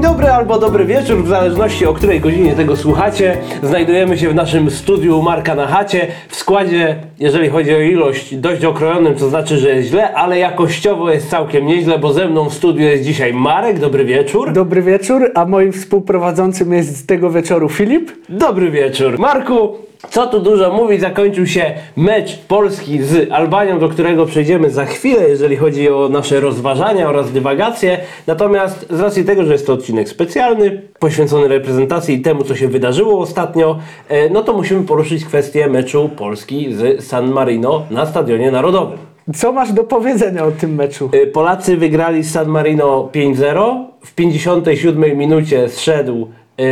dobry albo dobry wieczór, w zależności o której godzinie tego słuchacie. Znajdujemy się w naszym studiu Marka na chacie. W składzie, jeżeli chodzi o ilość, dość okrojonym, co znaczy, że jest źle, ale jakościowo jest całkiem nieźle, bo ze mną w studiu jest dzisiaj Marek, dobry wieczór. Dobry wieczór, a moim współprowadzącym jest z tego wieczoru Filip. Dobry wieczór. Marku, co tu dużo mówić, zakończył się mecz Polski z Albanią, do którego przejdziemy za chwilę, jeżeli chodzi o nasze rozważania oraz dywagacje. Natomiast z racji tego, że jest to odcinek specjalny, poświęcony reprezentacji i temu, co się wydarzyło ostatnio, e, no to musimy poruszyć kwestię meczu Polski z San Marino na Stadionie Narodowym. Co masz do powiedzenia o tym meczu? Y, Polacy wygrali z San Marino 5-0. W 57 minucie zszedł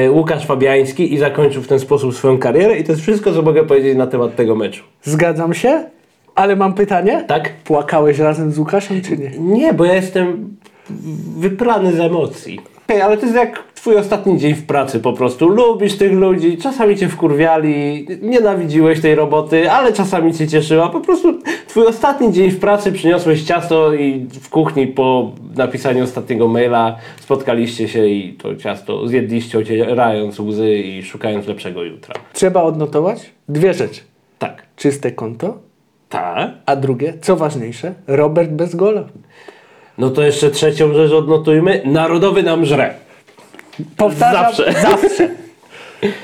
y, Łukasz Fabiański i zakończył w ten sposób swoją karierę. I to jest wszystko, co mogę powiedzieć na temat tego meczu. Zgadzam się, ale mam pytanie. Tak? Płakałeś razem z Łukaszem, czy nie? Nie, bo ja jestem wyprany z emocji. Hej, ale to jest jak twój ostatni dzień w pracy po prostu. Lubisz tych ludzi, czasami cię wkurwiali, nienawidziłeś tej roboty, ale czasami cię cieszyła. Po prostu twój ostatni dzień w pracy przyniosłeś ciasto i w kuchni po napisaniu ostatniego maila spotkaliście się i to ciasto zjedliście ocierając łzy i szukając lepszego jutra. Trzeba odnotować dwie rzeczy. Tak. Czyste konto, Tak? a drugie, co ważniejsze, Robert bez gola. No to jeszcze trzecią rzecz odnotujmy. Narodowy nam żre. Powtarzam, Zawsze. zawsze.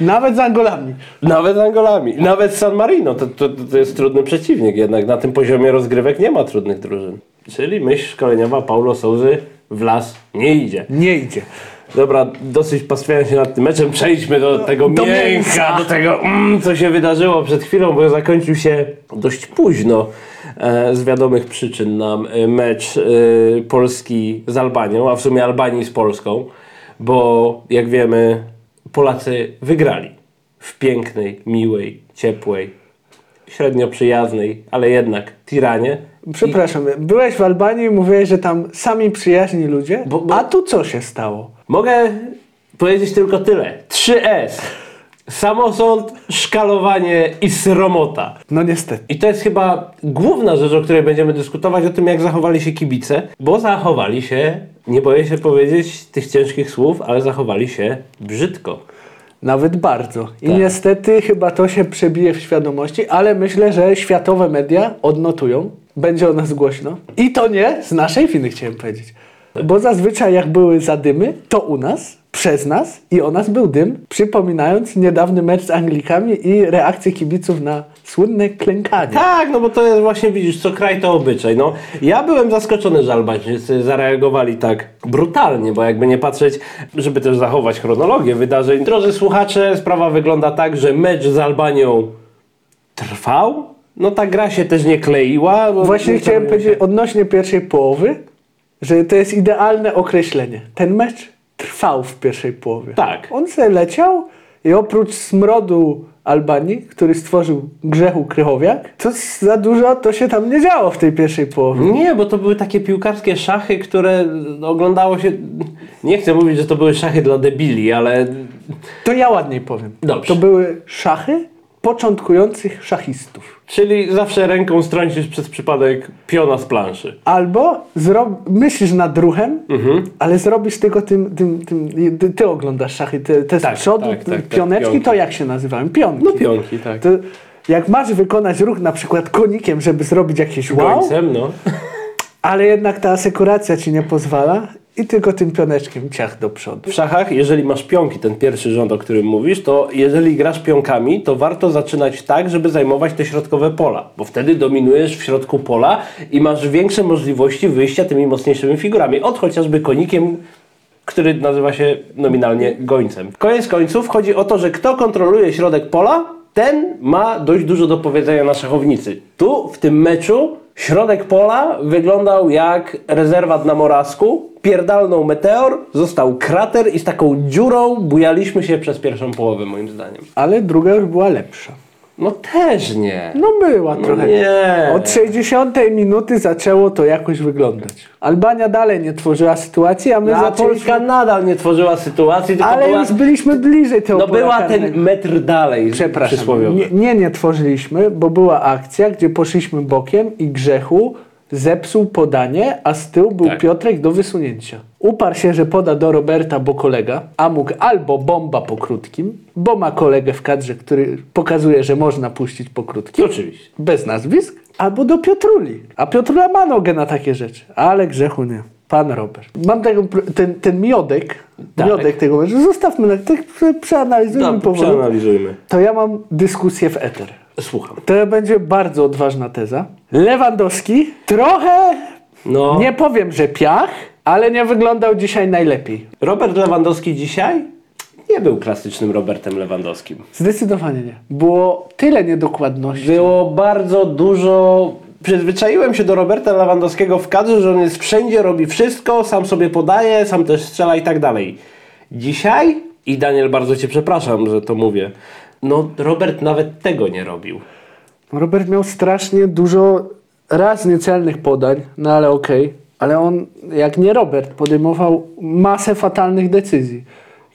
Nawet z Angolami. Nawet z Angolami, nawet San Marino. To, to, to jest trudny przeciwnik, jednak na tym poziomie rozgrywek nie ma trudnych drużyn. Czyli myśl szkoleniowa Paulo Souzy w las nie idzie. Nie idzie. Dobra, dosyć pastwiając się nad tym meczem, przejdźmy do tego do mięka, mięsa. do tego, mm, co się wydarzyło przed chwilą, bo zakończył się dość późno e, z wiadomych przyczyn nam e, mecz e, Polski z Albanią, a w sumie Albanii z Polską, bo jak wiemy, Polacy wygrali w pięknej, miłej, ciepłej, średnio przyjaznej, ale jednak Tiranie. Przepraszam, byłeś w Albanii i mówiłeś, że tam sami przyjaźni ludzie, Bo- bo- a tu co się stało? Mogę powiedzieć tylko tyle. 3S. Samosąd, szkalowanie i sromota. No niestety. I to jest chyba główna rzecz, o której będziemy dyskutować, o tym jak zachowali się kibice, bo zachowali się, nie boję się powiedzieć tych ciężkich słów, ale zachowali się brzydko. Nawet bardzo. I Tak. niestety chyba to się przebije w świadomości, ale myślę, że światowe media odnotują. Będzie o nas głośno. I to nie z naszej winy, chciałem powiedzieć. Bo zazwyczaj jak były zadymy, to u nas, przez nas i o nas był dym, przypominając niedawny mecz z Anglikami i reakcję kibiców na słynne klękanie. Tak, no bo to jest właśnie, widzisz, co kraj to obyczaj. No, ja byłem zaskoczony, że Albańczycy zareagowali tak brutalnie, bo jakby nie patrzeć, żeby też zachować chronologię wydarzeń. Drodzy słuchacze, sprawa wygląda tak, że mecz z Albanią trwał. No ta gra się też nie kleiła. bo- Właśnie nie chciałem się- powiedzieć odnośnie pierwszej połowy, że to jest idealne określenie. Ten mecz trwał w pierwszej połowie. Tak. On se leciał i oprócz smrodu Albanii, który stworzył grzechu Krychowiak, to s- za dużo to się tam nie działo w tej pierwszej połowie. Nie, bo to były takie piłkarskie szachy, które oglądało się. Nie chcę mówić, że to były szachy dla debili, ale. To ja ładniej powiem. Dobrze. To były szachy początkujących szachistów. Czyli zawsze ręką strącisz przez przypadek piona z planszy. Albo zrob... myślisz nad ruchem, Mhm. ale zrobisz tylko tym, tym, tym ty, ty oglądasz szachy, te, te Tak, z przodu, tak, tak, tak, pioneczki, pionki. to jak się nazywają? Pionki. No pionki, tak. To jak masz wykonać ruch na przykład konikiem, żeby zrobić jakieś wow, Gońcem, no. ale jednak ta asekuracja ci nie pozwala i tylko tym pioneczkiem ciach do przodu. W szachach, jeżeli masz pionki, ten pierwszy rząd, o którym mówisz, to jeżeli grasz pionkami, to warto zaczynać tak, żeby zajmować te środkowe pola, bo wtedy dominujesz w środku pola i masz większe możliwości wyjścia tymi mocniejszymi figurami. Od chociażby konikiem, który nazywa się nominalnie gońcem. Koniec końców chodzi o to, że kto kontroluje środek pola, ten ma dość dużo do powiedzenia na szachownicy. Tu, w tym meczu, środek pola wyglądał jak rezerwat na Morasku, pierdalnął meteor, został krater i z taką dziurą bujaliśmy się przez pierwszą połowę, moim zdaniem. Ale druga już była lepsza. No też nie. No była trochę. nie. Od 60 minuty zaczęło to jakoś wyglądać. Albania dalej nie tworzyła sytuacji, a my A zaczęliśmy... Polska nadal nie tworzyła sytuacji, tylko Ale była, już byliśmy bliżej tego no, pola była karnego. ten metr dalej Przepraszam. przysłowiowy. Nie, nie, nie tworzyliśmy, bo była akcja, gdzie poszliśmy bokiem i grzechu zepsuł podanie, a z tyłu był Tak. Piotrek do wysunięcia. Uparł się, że poda do Roberta, bo kolega, a mógł albo bomba po krótkim, bo ma kolegę w kadrze, który pokazuje, że można puścić po krótkim, Oczywiście. bez nazwisk, albo do Piotruli. A Piotrula ma nogę na takie rzeczy, ale grzechu nie. Pan Robert. Mam tego, pr- ten, ten miodek, Darek. miodek tego meczu, zostawmy, na, tak prze- przeanalizujmy Dobra, powoli. No, przeanalizujmy. To ja mam dyskusję w eter. Słucham. To będzie bardzo odważna teza. Lewandowski trochę, No. nie powiem, że piach, ale nie wyglądał dzisiaj najlepiej. Robert Lewandowski dzisiaj nie był klasycznym Robertem Lewandowskim. Zdecydowanie nie. Było tyle niedokładności. Było bardzo dużo. Przyzwyczaiłem się do Roberta Lewandowskiego w kadrze, że on jest wszędzie, robi wszystko, sam sobie podaje, sam też strzela i tak dalej. Dzisiaj, i Daniel, bardzo Cię przepraszam, że to mówię, no Robert nawet tego nie robił. Robert miał strasznie dużo raz niecelnych podań, no ale okej. Ale on, jak nie Robert, podejmował masę fatalnych decyzji.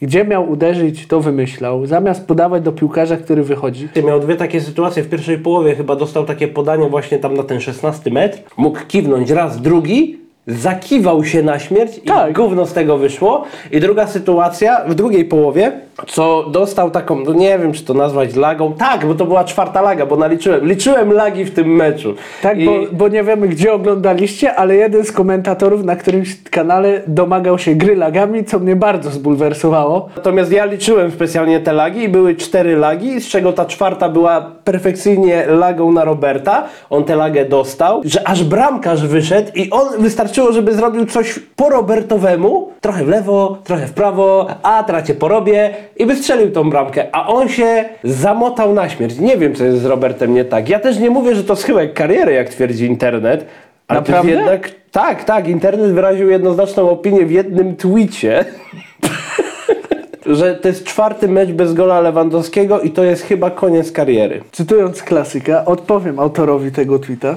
Gdzie miał uderzyć, to wymyślał. Zamiast podawać do piłkarza, który wychodzi, Ty miał dwie takie sytuacje w pierwszej połowie, chyba dostał takie podanie właśnie tam na ten 16 metr. Mógł kiwnąć raz, drugi, zakiwał się na śmierć i Tak. gówno z tego wyszło. I druga sytuacja w drugiej połowie, co dostał taką, no nie wiem czy to nazwać lagą. Tak, bo to była czwarta laga, bo naliczyłem. Liczyłem lagi w tym meczu. Tak, I... bo, bo nie wiemy, gdzie oglądaliście, ale jeden z komentatorów na którymś kanale domagał się gry lagami, co mnie bardzo zbulwersowało. Natomiast ja liczyłem specjalnie te lagi i były cztery lagi, z czego ta czwarta była perfekcyjnie lagą na Roberta. On tę lagę dostał, że aż bramkarz wyszedł i on wystarczyło, żeby zrobił coś po Robertowemu, trochę w lewo, trochę w prawo, a tracie porobię i wystrzelił tą bramkę, a on się zamotał na śmierć. Nie wiem, co jest z Robertem nie tak. Ja też nie mówię, że to schyłek kariery, jak twierdzi internet. Ale to jest Naprawdę? jednak, tak, tak, internet wyraził jednoznaczną opinię w jednym tweecie że to jest czwarty mecz bez gola Lewandowskiego i to jest chyba koniec kariery. Cytując klasyka, odpowiem autorowi tego tweeta.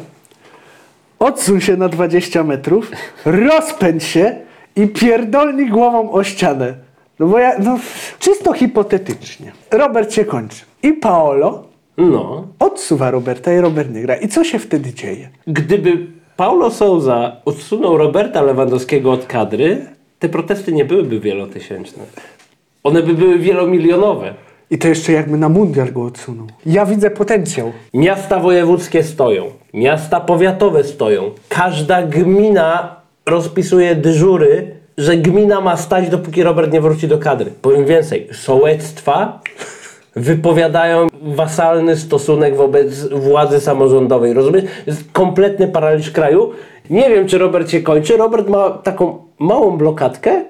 Odsuń się na 20 metrów, rozpędź się i pierdolnij głową o ścianę. No bo ja, no, czysto hipotetycznie. Robert się kończy. I Paolo No. odsuwa Roberta i Robert nie gra. I co się wtedy dzieje? Gdyby Paulo Souza odsunął Roberta Lewandowskiego od kadry, te protesty nie byłyby wielotysięczne. One by były wielomilionowe. I to jeszcze jakby na mundial go odsunął. Ja widzę potencjał. Miasta wojewódzkie stoją, miasta powiatowe stoją. Każda gmina rozpisuje dyżury, że gmina ma stać, dopóki Robert nie wróci do kadry. Powiem więcej, sołectwa wypowiadają wasalny stosunek wobec władzy samorządowej. Rozumiesz? Jest kompletny paraliż kraju. Nie wiem, czy Robert się kończy. Robert ma taką małą blokadkę,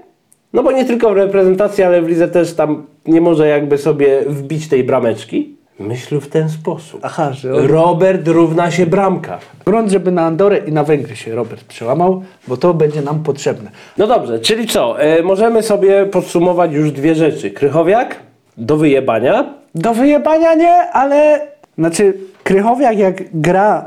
no bo nie tylko w reprezentacji, ale w lidze też tam nie może jakby sobie wbić tej brameczki. Myśl w ten sposób. Aha, że on... Robert równa się bramka. Grunt, żeby na Andorę i na Węgry się Robert przełamał, bo to będzie nam potrzebne. No dobrze, czyli co? E, możemy sobie podsumować już dwie rzeczy. Krychowiak do wyjebania. Do wyjebania nie, ale... Znaczy, Krychowiak jak gra,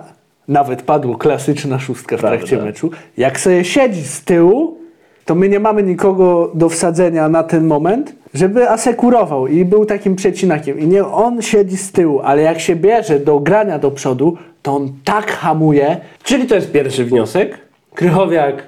nawet padło klasyczna szóstka w Prawda. trakcie meczu, jak sobie siedzi z tyłu, to my nie mamy nikogo do wsadzenia na ten moment, żeby asekurował i był takim przecinakiem. I nie on siedzi z tyłu, ale jak się bierze do grania do przodu, to on tak hamuje, Czyli to jest pierwszy wniosek. Krychowiak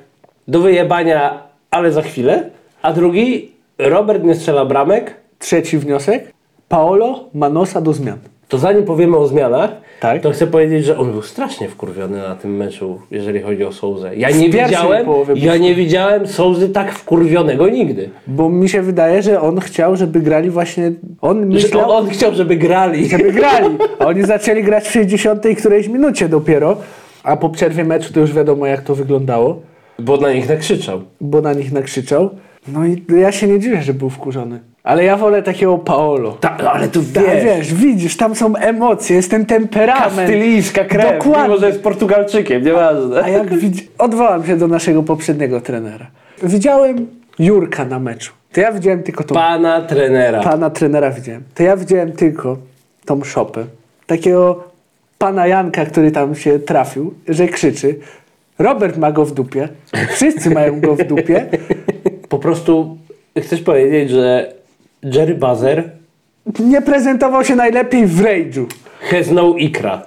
do wyjebania, ale za chwilę. A drugi, Robert nie strzela bramek. Trzeci wniosek. Paolo ma nosa do zmian. To zanim powiemy o zmianach, Tak. to chcę powiedzieć, że on był strasznie wkurwiony na tym meczu, jeżeli chodzi o Souzę. Ja nie pierwszej widziałem, połowie ja był- nie widziałem Souzy tak wkurwionego nigdy. Bo mi się wydaje, że on chciał, żeby grali właśnie. On Że on, myślał, on chciał, żeby grali. żeby grali. A oni zaczęli grać w 60 którejś minucie dopiero. A po przerwie meczu to już wiadomo, jak to wyglądało, Bo na nich nakrzyczał. bo na nich nakrzyczał. No i ja się nie dziwię, że był wkurzony. Ale ja wolę takiego Paolo. Ta, no ale tu Ta, wiesz, Tak, wiesz. widzisz, tam są emocje, jest ten temperament. kastylijska krew, Dokładnie. mimo że jest Portugalczykiem, nieważne. A jak widzi... Odwołam się do naszego poprzedniego trenera. Widziałem Jurka na meczu. To ja widziałem tylko tą Pana trenera. pana trenera widziałem. To ja widziałem tylko tą szopę. Takiego pana Janka, który tam się trafił, że krzyczy. Robert ma go w dupie. Wszyscy mają go w dupie. Po prostu chcesz powiedzieć, że Jerry Buzzer Nie prezentował się najlepiej w rage'u. has no ikra.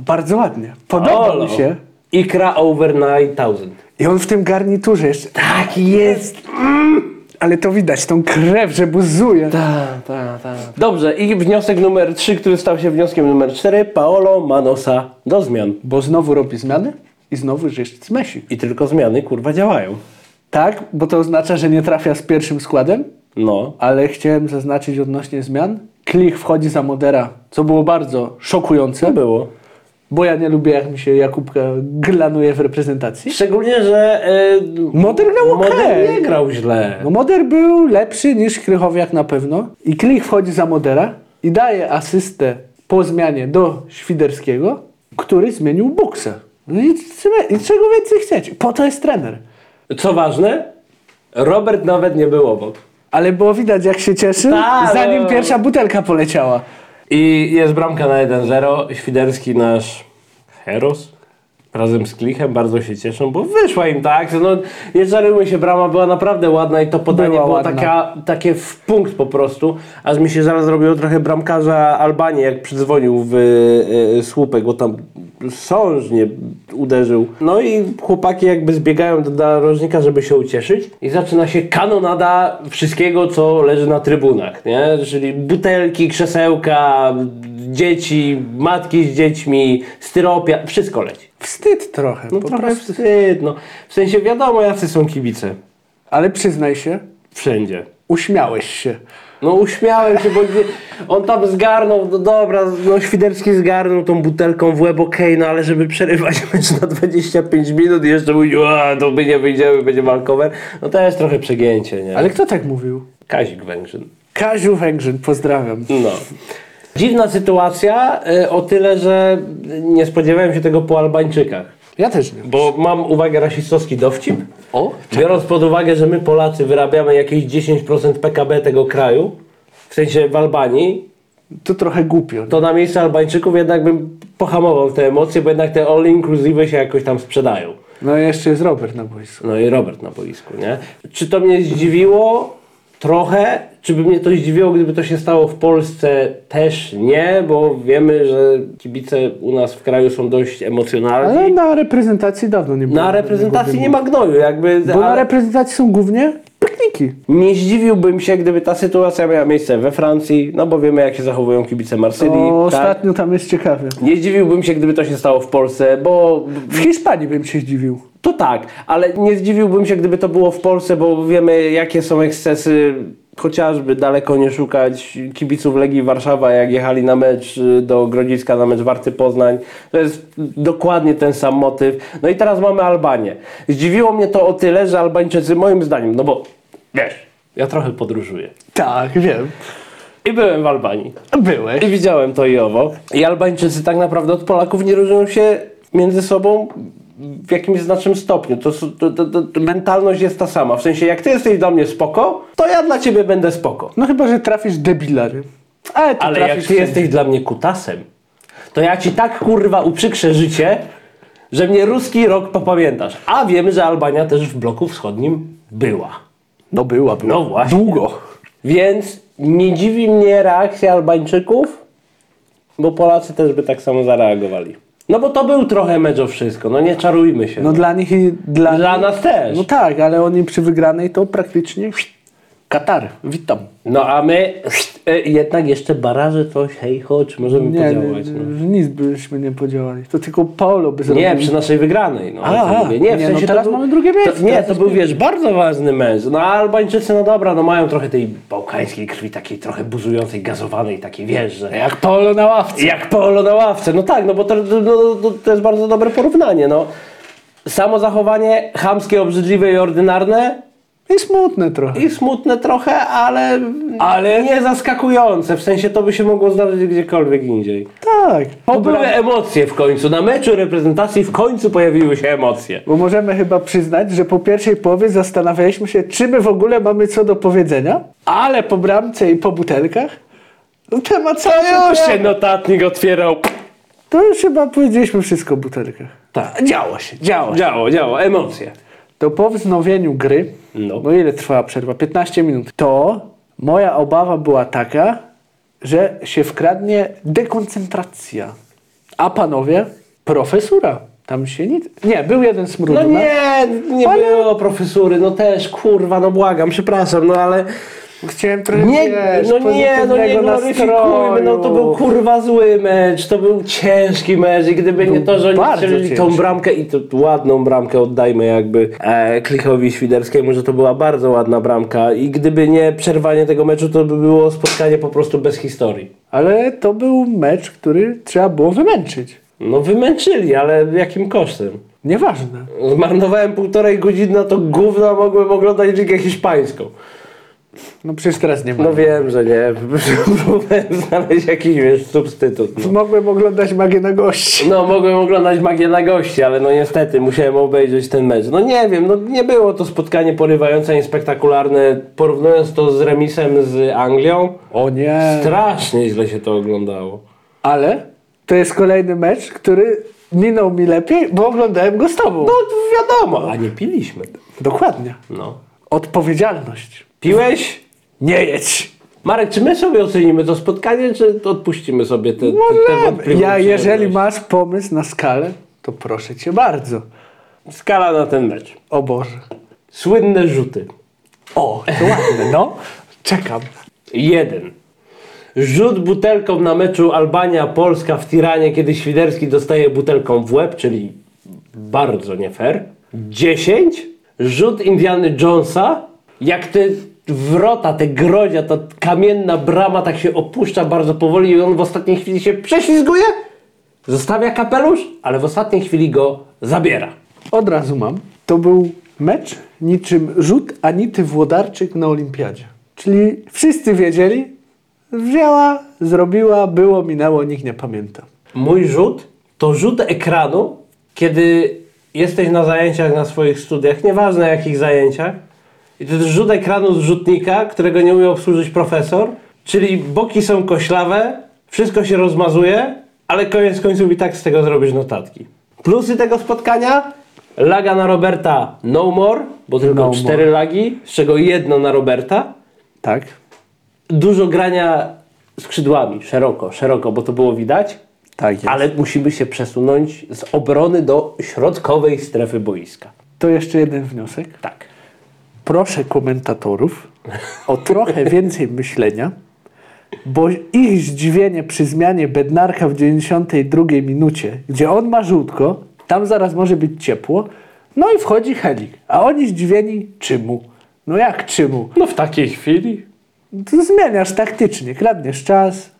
Bardzo ładnie. Podobał Olo. mi się. Ikra over 9000. I on w tym garniturze jeszcze. Tak jest! Mm! Ale to widać, tą krew, że buzuje. Tak, tak, tak. Dobrze, i wniosek numer 3, który stał się wnioskiem numer 4. Paolo Manosa do zmian. Bo znowu robi zmiany i znowu jest zmesik. I tylko zmiany, kurwa, działają. Tak, bo to oznacza, że nie trafia z pierwszym składem, No. ale chciałem zaznaczyć odnośnie zmian. Klich wchodzi za modera, co było bardzo szokujące, Co było? bo ja nie lubię, jak mi się Jakubka glanuje w reprezentacji. Szczególnie, że... y, Moder grał okej. Moder nie grał źle. No Moder był lepszy niż Krychowiak na pewno. I Klich wchodzi za Modera i daje asystę po zmianie do Świderskiego, który zmienił buksę. No i, trzeba- i czego więcej chcieć? Po to jest trener. Co ważne, Robert nawet nie był obok. Ale było widać, jak się cieszył, Tak, no. zanim pierwsza butelka poleciała. I jest bramka na 1-0. Świderski nasz Heros razem z Klichem bardzo się cieszą, bo wyszła im tak. że No, nie żarujmy się, brama była naprawdę ładna i to podanie Była było ładna. taka, takie w punkt po prostu. Aż mi się zaraz zrobiło trochę bramkarza Albanii, jak przydzwonił w e, e, słupek, bo tam sążnie uderzył. No i chłopaki jakby zbiegają do narożnika, żeby się ucieszyć i zaczyna się kanonada wszystkiego, co leży na trybunach, nie? Czyli butelki, krzesełka, dzieci, matki z dziećmi, styropia, wszystko leci. Wstyd trochę, No po trochę prostu. wstyd, no. W sensie wiadomo, jacy są kibice. Ale przyznaj się, Wszędzie. uśmiałeś się. No uśmiałem się, bo nie- on tam zgarnął, no dobra, no Świderski zgarnął tą butelką w łeb, okej, no ale żeby przerywać mecz na 25 minut i jeszcze mówił, a to my nie wyjdziemy, będzie malkower, no to jest trochę przegięcie, nie? Ale Ale kto tak mówił? Kazik Węgrzyn. Kaziu Węgrzyn, pozdrawiam. No. Dziwna sytuacja, y, o tyle, że nie spodziewałem się tego po Albańczykach. Ja też nie. Bo mam uwagę rasistowski dowcip. O? Biorąc pod uwagę, że my Polacy wyrabiamy jakieś 10% PKB tego kraju, w sensie w Albanii, To trochę głupio. to na miejscu Albańczyków jednak bym pohamował te emocje, bo jednak te all inclusive się jakoś tam sprzedają. No i jeszcze jest Robert na boisku. No i Robert na boisku, nie? Czy to mnie zdziwiło? Trochę. Czy by mnie to zdziwiło, gdyby to się stało w Polsce? Też nie, bo wiemy, że kibice u nas w kraju są dość emocjonalni. Ale na reprezentacji dawno nie było. Na reprezentacji nie ma gnoju, jakby... Bo na ale- reprezentacji są głównie pikniki. Nie zdziwiłbym się, gdyby ta sytuacja miała miejsce we Francji, no bo wiemy jak się zachowują kibice Marsylii. O, tak? ostatnio tam jest ciekawie. Nie zdziwiłbym się, gdyby to się stało w Polsce, bo W Hiszpanii bym się zdziwił. to tak, ale nie zdziwiłbym się, gdyby to było w Polsce, bo wiemy jakie są ekscesy, chociażby daleko nie szukać kibiców Legii Warszawa, jak jechali na mecz y, do Grodziska, na mecz Warty Poznań. To jest dokładnie ten sam motyw. No i teraz mamy Albanię. Zdziwiło mnie to o tyle, że Albańczycy moim zdaniem, no bo wiesz, ja trochę podróżuję. Tak, wiem. I byłem w Albanii. Byłeś. I widziałem to i owo. I Albańczycy tak naprawdę od Polaków nie różnią się między sobą w jakimś znacznym stopniu. To, s- to, to, to, to mentalność jest ta sama. W sensie, jak ty jesteś dla mnie spoko, to ja dla ciebie będę spoko. No chyba, że trafisz debila, nie? Ale, to Ale trafisz jak ty wszędzie. jesteś dla mnie kutasem, to ja ci tak kurwa uprzykrzę życie, że mnie ruski rok popamiętasz. A wiemy, że Albania też w bloku wschodnim była. No była, była. No właśnie. Długo. Więc nie dziwi mnie reakcja Albańczyków, bo Polacy też by tak samo zareagowali. No bo to był trochę mecz o wszystko, no nie czarujmy się. No No, dla nich i dla... Dla nas też. No tak, ale oni przy wygranej to praktycznie... Katar, witam. No a my e, jednak jeszcze baraże coś, hej, chodź, możemy Nie, podziałać. nie, No. nic byśmy nie podziałali. To tylko Paolo by zrobił. Nie, przy naszej wygranej. No, Aha, ale to mówię. nie, w nie, no sensie to teraz był- mamy drugie miejsce, To, nie, teraz to jest był, wiesz, bardzo ważny mecz. No a Albańczycy, no dobra, no mają trochę tej bałkańskiej krwi, takiej trochę buzującej, gazowanej, takiej, wiesz, że Jak Paolo na ławce. Jak Paolo na ławce. No tak, no bo to, no, no, to jest bardzo dobre porównanie. No. Samo zachowanie chamskie, obrzydliwe i ordynarne I smutne trochę. i smutne trochę, ale, ale nie zaskakujące. W sensie to by się mogło zdarzyć gdziekolwiek indziej. Tak. To były emocje w końcu. Na meczu reprezentacji w końcu pojawiły się emocje. Bo możemy chyba przyznać, że po pierwszej połowie zastanawialiśmy się, czy my w ogóle mamy co do powiedzenia, ale po bramce i po butelkach no temat cały Już się notatnik otwierał. To już chyba powiedzieliśmy wszystko o butelkach. Tak. Działo się, działo się. Działo, działo. Emocje. To po wznowieniu gry, No. no ile trwała przerwa? 15 minut. To moja obawa była taka, że się wkradnie dekoncentracja. A panowie, profesura. Tam się nic... Nie, był jeden smród. tak? No nie, nie było profesury, no też, kurwa, no błagam, przepraszam, no ale... Chciałem trochę, Nie, wiesz, no nie, no nie pozytywnego gloryfikujmy, nastroju. no to był kurwa zły mecz, to był ciężki mecz i gdyby nie to, że oni bardzo strzelili tą ciężki. bramkę i to ładną bramkę oddajmy jakby e, Klichowi Świderskiemu, że to była bardzo ładna bramka i gdyby nie przerwanie tego meczu, to by było spotkanie po prostu bez historii. Ale to był mecz, który trzeba było wymęczyć. No wymęczyli, ale jakim kosztem? Nieważne. Zmarnowałem półtorej godziny na to gówno, a mogłem oglądać Ligę Hiszpańską. No przecież teraz nie ma. No wiem, że nie, próbowałem znaleźć jakiś wiesz, substytut. No. Mogłem oglądać magię na gości. No, mogłem oglądać magię na gości, ale no niestety musiałem obejrzeć ten mecz. No nie wiem, no nie było to spotkanie porywające ani spektakularne. Porównując to z remisem z Anglią, O nie. strasznie źle się to oglądało. Ale to jest kolejny mecz, który minął mi lepiej, bo oglądałem go z tobą. No wiadomo, a nie piliśmy. Dokładnie. No. Odpowiedzialność. Piłeś? Nie jedź. Marek, czy my sobie ocenimy to spotkanie, czy odpuścimy sobie te, te, te Możemy. wątpliwości? Ja, jeżeli masz pomysł na skalę, to proszę cię bardzo. Skala na ten mecz. O Boże. Słynne rzuty. O, to ładne, no. Czekam. Jeden. Rzut butelką na meczu Albania-Polska w Tiranie, kiedy Świderski dostaje butelką w łeb, czyli bardzo nie fair. 10. Rzut Indiany Jonesa, jak te wrota, te grodzia, ta kamienna brama tak się opuszcza bardzo powoli i on w ostatniej chwili się prześlizguje, zostawia kapelusz, ale w ostatniej chwili go zabiera. Od razu mam. To był mecz niczym rzut Anity Włodarczyk na Olimpiadzie. Czyli wszyscy wiedzieli, wzięła, zrobiła, było, minęło, nikt nie pamięta. Mój rzut to rzut ekranu, kiedy jesteś na zajęciach na swoich studiach, nieważne jakich zajęciach, i to jest rzut ekranu z rzutnika, którego nie umie obsłużyć profesor, czyli boki są koślawe, wszystko się rozmazuje, ale koniec końców i tak z tego zrobisz notatki. Plusy tego spotkania? Laga na Roberta no more, bo tylko No more. cztery lagi, z czego jedno na Roberta Tak. dużo grania skrzydłami, szeroko, szeroko, bo to było widać. Tak jest. Ale musimy się przesunąć z obrony do środkowej strefy boiska. To jeszcze jeden wniosek. Tak. Proszę komentatorów o trochę więcej myślenia, bo ich zdziwienie przy zmianie Bednarka w 92 minucie, gdzie on ma żółtko, tam zaraz może być ciepło, no i wchodzi Helik, a oni zdziwieni czemu? No jak czemu? No w takiej chwili? To zmieniasz taktycznie, kradniesz czas,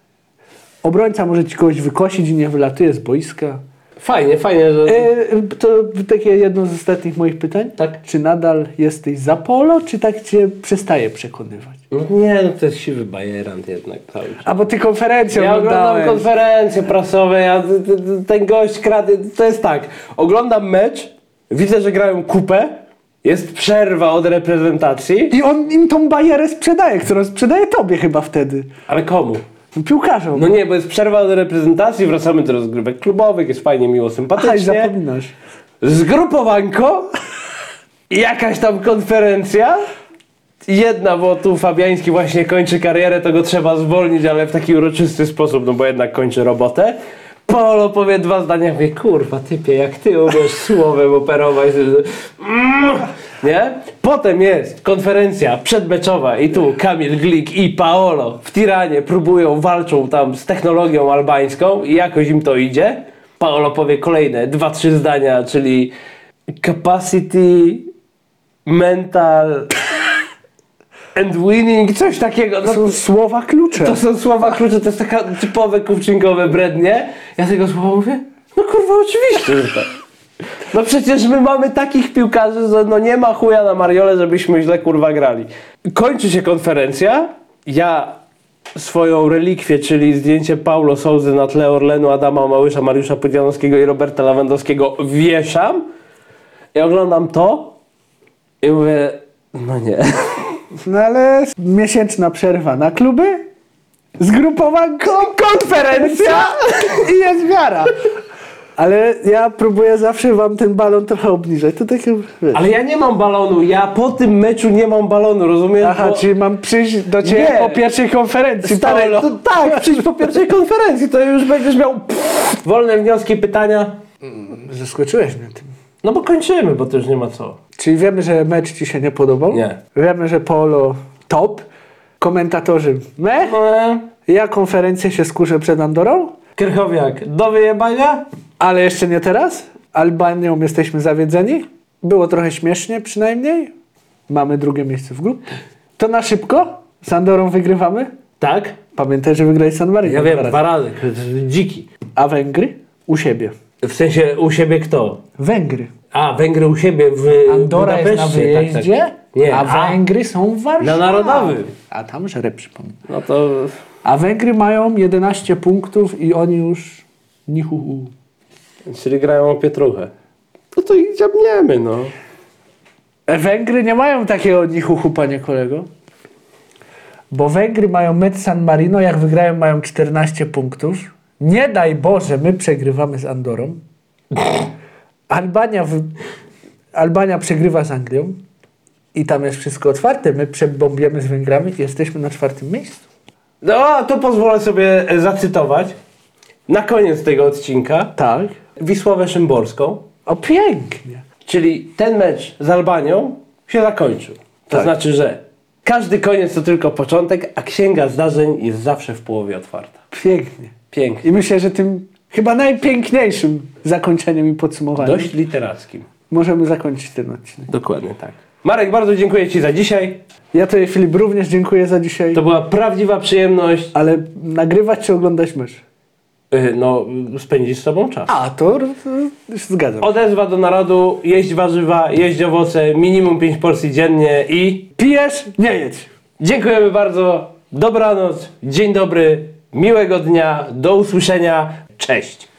obrońca może ci kogoś wykosić i nie wylatuje z boiska. Fajnie, fajnie, że... E, To takie jedno z ostatnich moich pytań. Tak. Czy nadal jesteś za polo, czy tak cię przestaje przekonywać? No nie, no to jest siwy bajerant jednak cały czas. A bo ty konferencję Ja oglądam oglądałeś. konferencje prasowe, ja, t- t- t- ten gość krady, to jest tak, oglądam mecz, widzę, że grają kupę, jest przerwa od reprezentacji, I on im tą bajerę sprzedaje, którą sprzedaje tobie chyba wtedy. ale komu? Piłkarzom. No nie, bo jest przerwa od reprezentacji, wracamy do rozgrywek klubowych, jest fajnie, miło, Aj, sympatycznie. zapominasz. Zgrupowanko, jakaś tam konferencja. Jedna, bo tu Fabiański właśnie kończy karierę, to go trzeba zwolnić, ale w taki uroczysty sposób, no bo jednak kończy robotę. Polo powie dwa zdania, mówię, kurwa typie, jak ty umiesz słowem operować. Mm, Nie? Potem jest konferencja przedmeczowa i tu Kamil Glik i Paolo w Tiranie próbują, walczą tam z technologią albańską i jakoś im to idzie. Paolo powie kolejne dwa, trzy zdania, czyli capacity, mental and winning, coś takiego. To No, są słowa klucze. to są słowa klucze, to jest taka typowe kupczynkowe brednie. Ja tego słowa mówię, no kurwa oczywiście, że tak. No przecież my mamy takich piłkarzy, że no nie ma chuja na Mariole, żebyśmy źle kurwa grali. Kończy się konferencja, ja swoją relikwię, czyli zdjęcie Paulo Souzy na tle Orlenu, Adama Małysza, Mariusza Pudzianowskiego i Roberta Lewandowskiego wieszam i oglądam to i mówię, no nie. No ale miesięczna przerwa na kluby, zgrupowanko, konferencja i jest wiara. Ale ja próbuję zawsze wam ten balon trochę obniżać. To takie, wiesz. Ale ja nie mam balonu, ja po tym meczu nie mam balonu, rozumiesz? Aha, Bo- czyli mam przyjść do ciebie Nie. po pierwszej konferencji, Stary, tak, Paolo. to tak, przyjdź po pierwszej konferencji, to już będziesz miał pff, wolne wnioski, pytania. Zaskoczyłeś mnie tym. No bo kończymy, bo to już nie ma co. Czyli wiemy, że mecz ci się nie podobał. Nie. Wiemy, że Polo top. Komentatorzy me. Eee, Ja konferencję się skuszę przed Andorą, Krychowiak, do wyjebania? ale ale jeszcze nie teraz. Albanią jesteśmy zawiedzeni. Było trochę śmiesznie przynajmniej. Mamy drugie miejsce w grupie. To na szybko. Z Andorą wygrywamy. Tak? Pamiętaj, że wygrali San Marino. Ja dwa wiem, razy. dwa razy, k- dziki. A Węgry? U siebie. W sensie u siebie kto? Węgry. A, Węgry u siebie w Andora jest na Budapeszcie. wyjeździe, Tak, tak. Nie, a Węgry są w Warszawie. Na Narodowym. A tam żre, przypomnę. No to... A Węgry mają 11 punktów i oni już nichuhu. Czyli grają o pietruchę. No to ich dziabniemy, no. E, Węgry nie mają takiego nichuhu, panie kolego. Bo Węgry mają mecz San Marino, jak wygrają mają 14 punktów. Nie daj Boże, my przegrywamy z Andorą. Albania, wy... Albania przegrywa z Anglią. I tam jest wszystko otwarte. My przebombiemy z Węgrami i jesteśmy na czwartym miejscu. No, to pozwolę sobie e, zacytować na koniec tego odcinka Tak. Wisławę Szymborską, O pięknie. czyli ten mecz z Albanią się zakończył. To Tak. znaczy, że każdy koniec to tylko początek, a księga zdarzeń jest zawsze w połowie otwarta. Pięknie. Pięknie. I myślę, że tym chyba najpiękniejszym zakończeniem i podsumowaniem Dość literackim. możemy zakończyć ten odcinek. Dokładnie tak. Marek, bardzo dziękuję Ci za dzisiaj. Ja tutaj Filip również dziękuję za dzisiaj. To była prawdziwa przyjemność. Ale nagrywać czy oglądać mysz? Y, No, spędzić z Tobą czas. A, to, to się zgadzam. Odezwa do narodu, jeść warzywa, jeść owoce, minimum 5 porcji dziennie i Pijesz? Nie jedź. Dziękujemy bardzo. Dobranoc, dzień dobry, miłego dnia, do usłyszenia. Cześć.